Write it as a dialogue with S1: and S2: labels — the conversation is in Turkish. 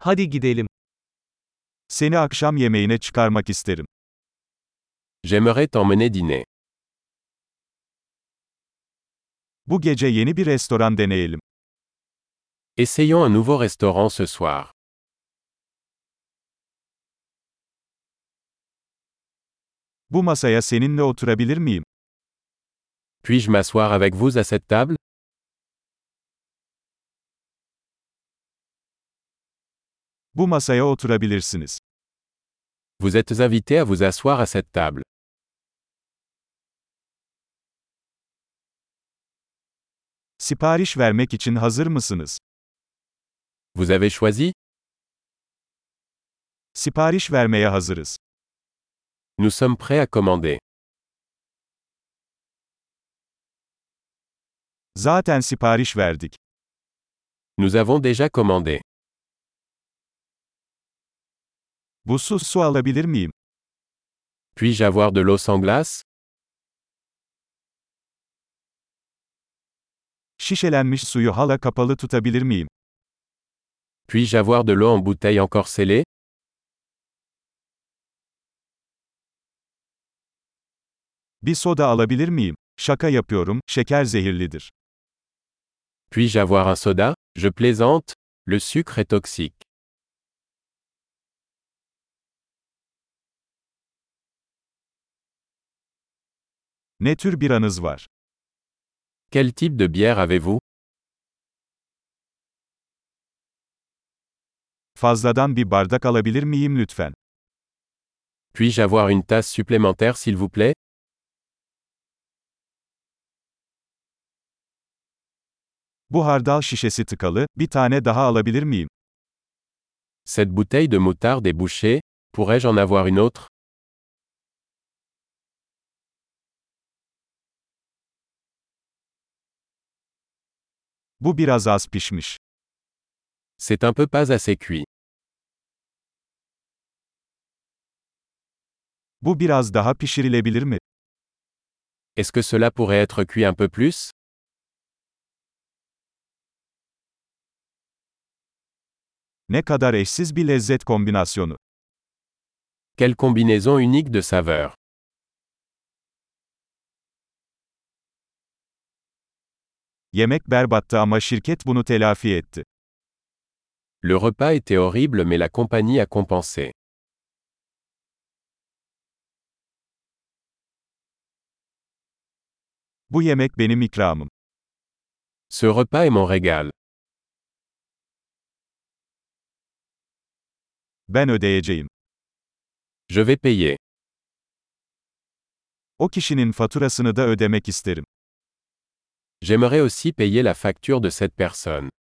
S1: Hadi gidelim.
S2: Seni akşam yemeğine çıkarmak isterim.
S3: J'aimerais t'emmener dîner.
S2: Bu gece yeni bir restoran deneyelim.
S3: Essayons un nouveau restaurant ce soir.
S2: Bu masaya seninle oturabilir miyim?
S3: Puis-je m'asseoir avec vous à cette table
S2: Bu masaya oturabilirsiniz.
S3: Vous êtes invité à vous asseoir à cette table.
S2: Sipariş vermek için hazır mısınız?
S3: Vous avez choisi
S2: Sipariş vermeye hazırız.
S3: Nous sommes prêts à commander.
S2: Zaten sipariş verdik.
S3: Nous avons déjà commandé.
S2: Buzsuz su alabilir miyim?
S3: Puis-je avoir de l'eau sans glace
S2: Şişelenmiş suyu hala kapalı tutabilir miyim?
S3: Puis-je avoir de l'eau en bouteille encore scellée
S2: Bir soda alabilir miyim? Şaka yapıyorum, şeker zehirlidir.
S3: Puis-je avoir un soda Je plaisante. Le sucre est toxique.
S2: Ne tür bir anız var?
S3: Quel type de bière avez-vous
S2: Fazladan bir bardak alabilir miyim lütfen?
S3: Puis-je avoir une tasse supplémentaire s'il vous plaît
S2: Bu hardal şişesi tıkalı, bir tane daha alabilir miyim?
S3: Cette bouteille de moutarde est bouchée. Pourrais-je en avoir une autre
S2: Bu biraz az pişmiş.
S3: C'est un peu pas assez cuit.
S2: Bu biraz daha pişirilebilir mi?
S3: Est-ce que cela pourrait être cuit un peu plus
S2: Ne kadar eşsiz bir lezzet kombinasyonu.
S3: Quelle combinaison unique de saveurs.
S2: Yemek berbattı ama şirket bunu telafi etti.
S3: Le repas était horrible mais la compagnie a compensé.
S2: Bu yemek benim ikramım.
S3: Ce repas est mon régal.
S2: Ben ödeyeceğim.
S3: Je vais payer.
S2: O kişinin faturasını da ödemek isterim.
S3: J'aimerais aussi payer la facture de cette personne.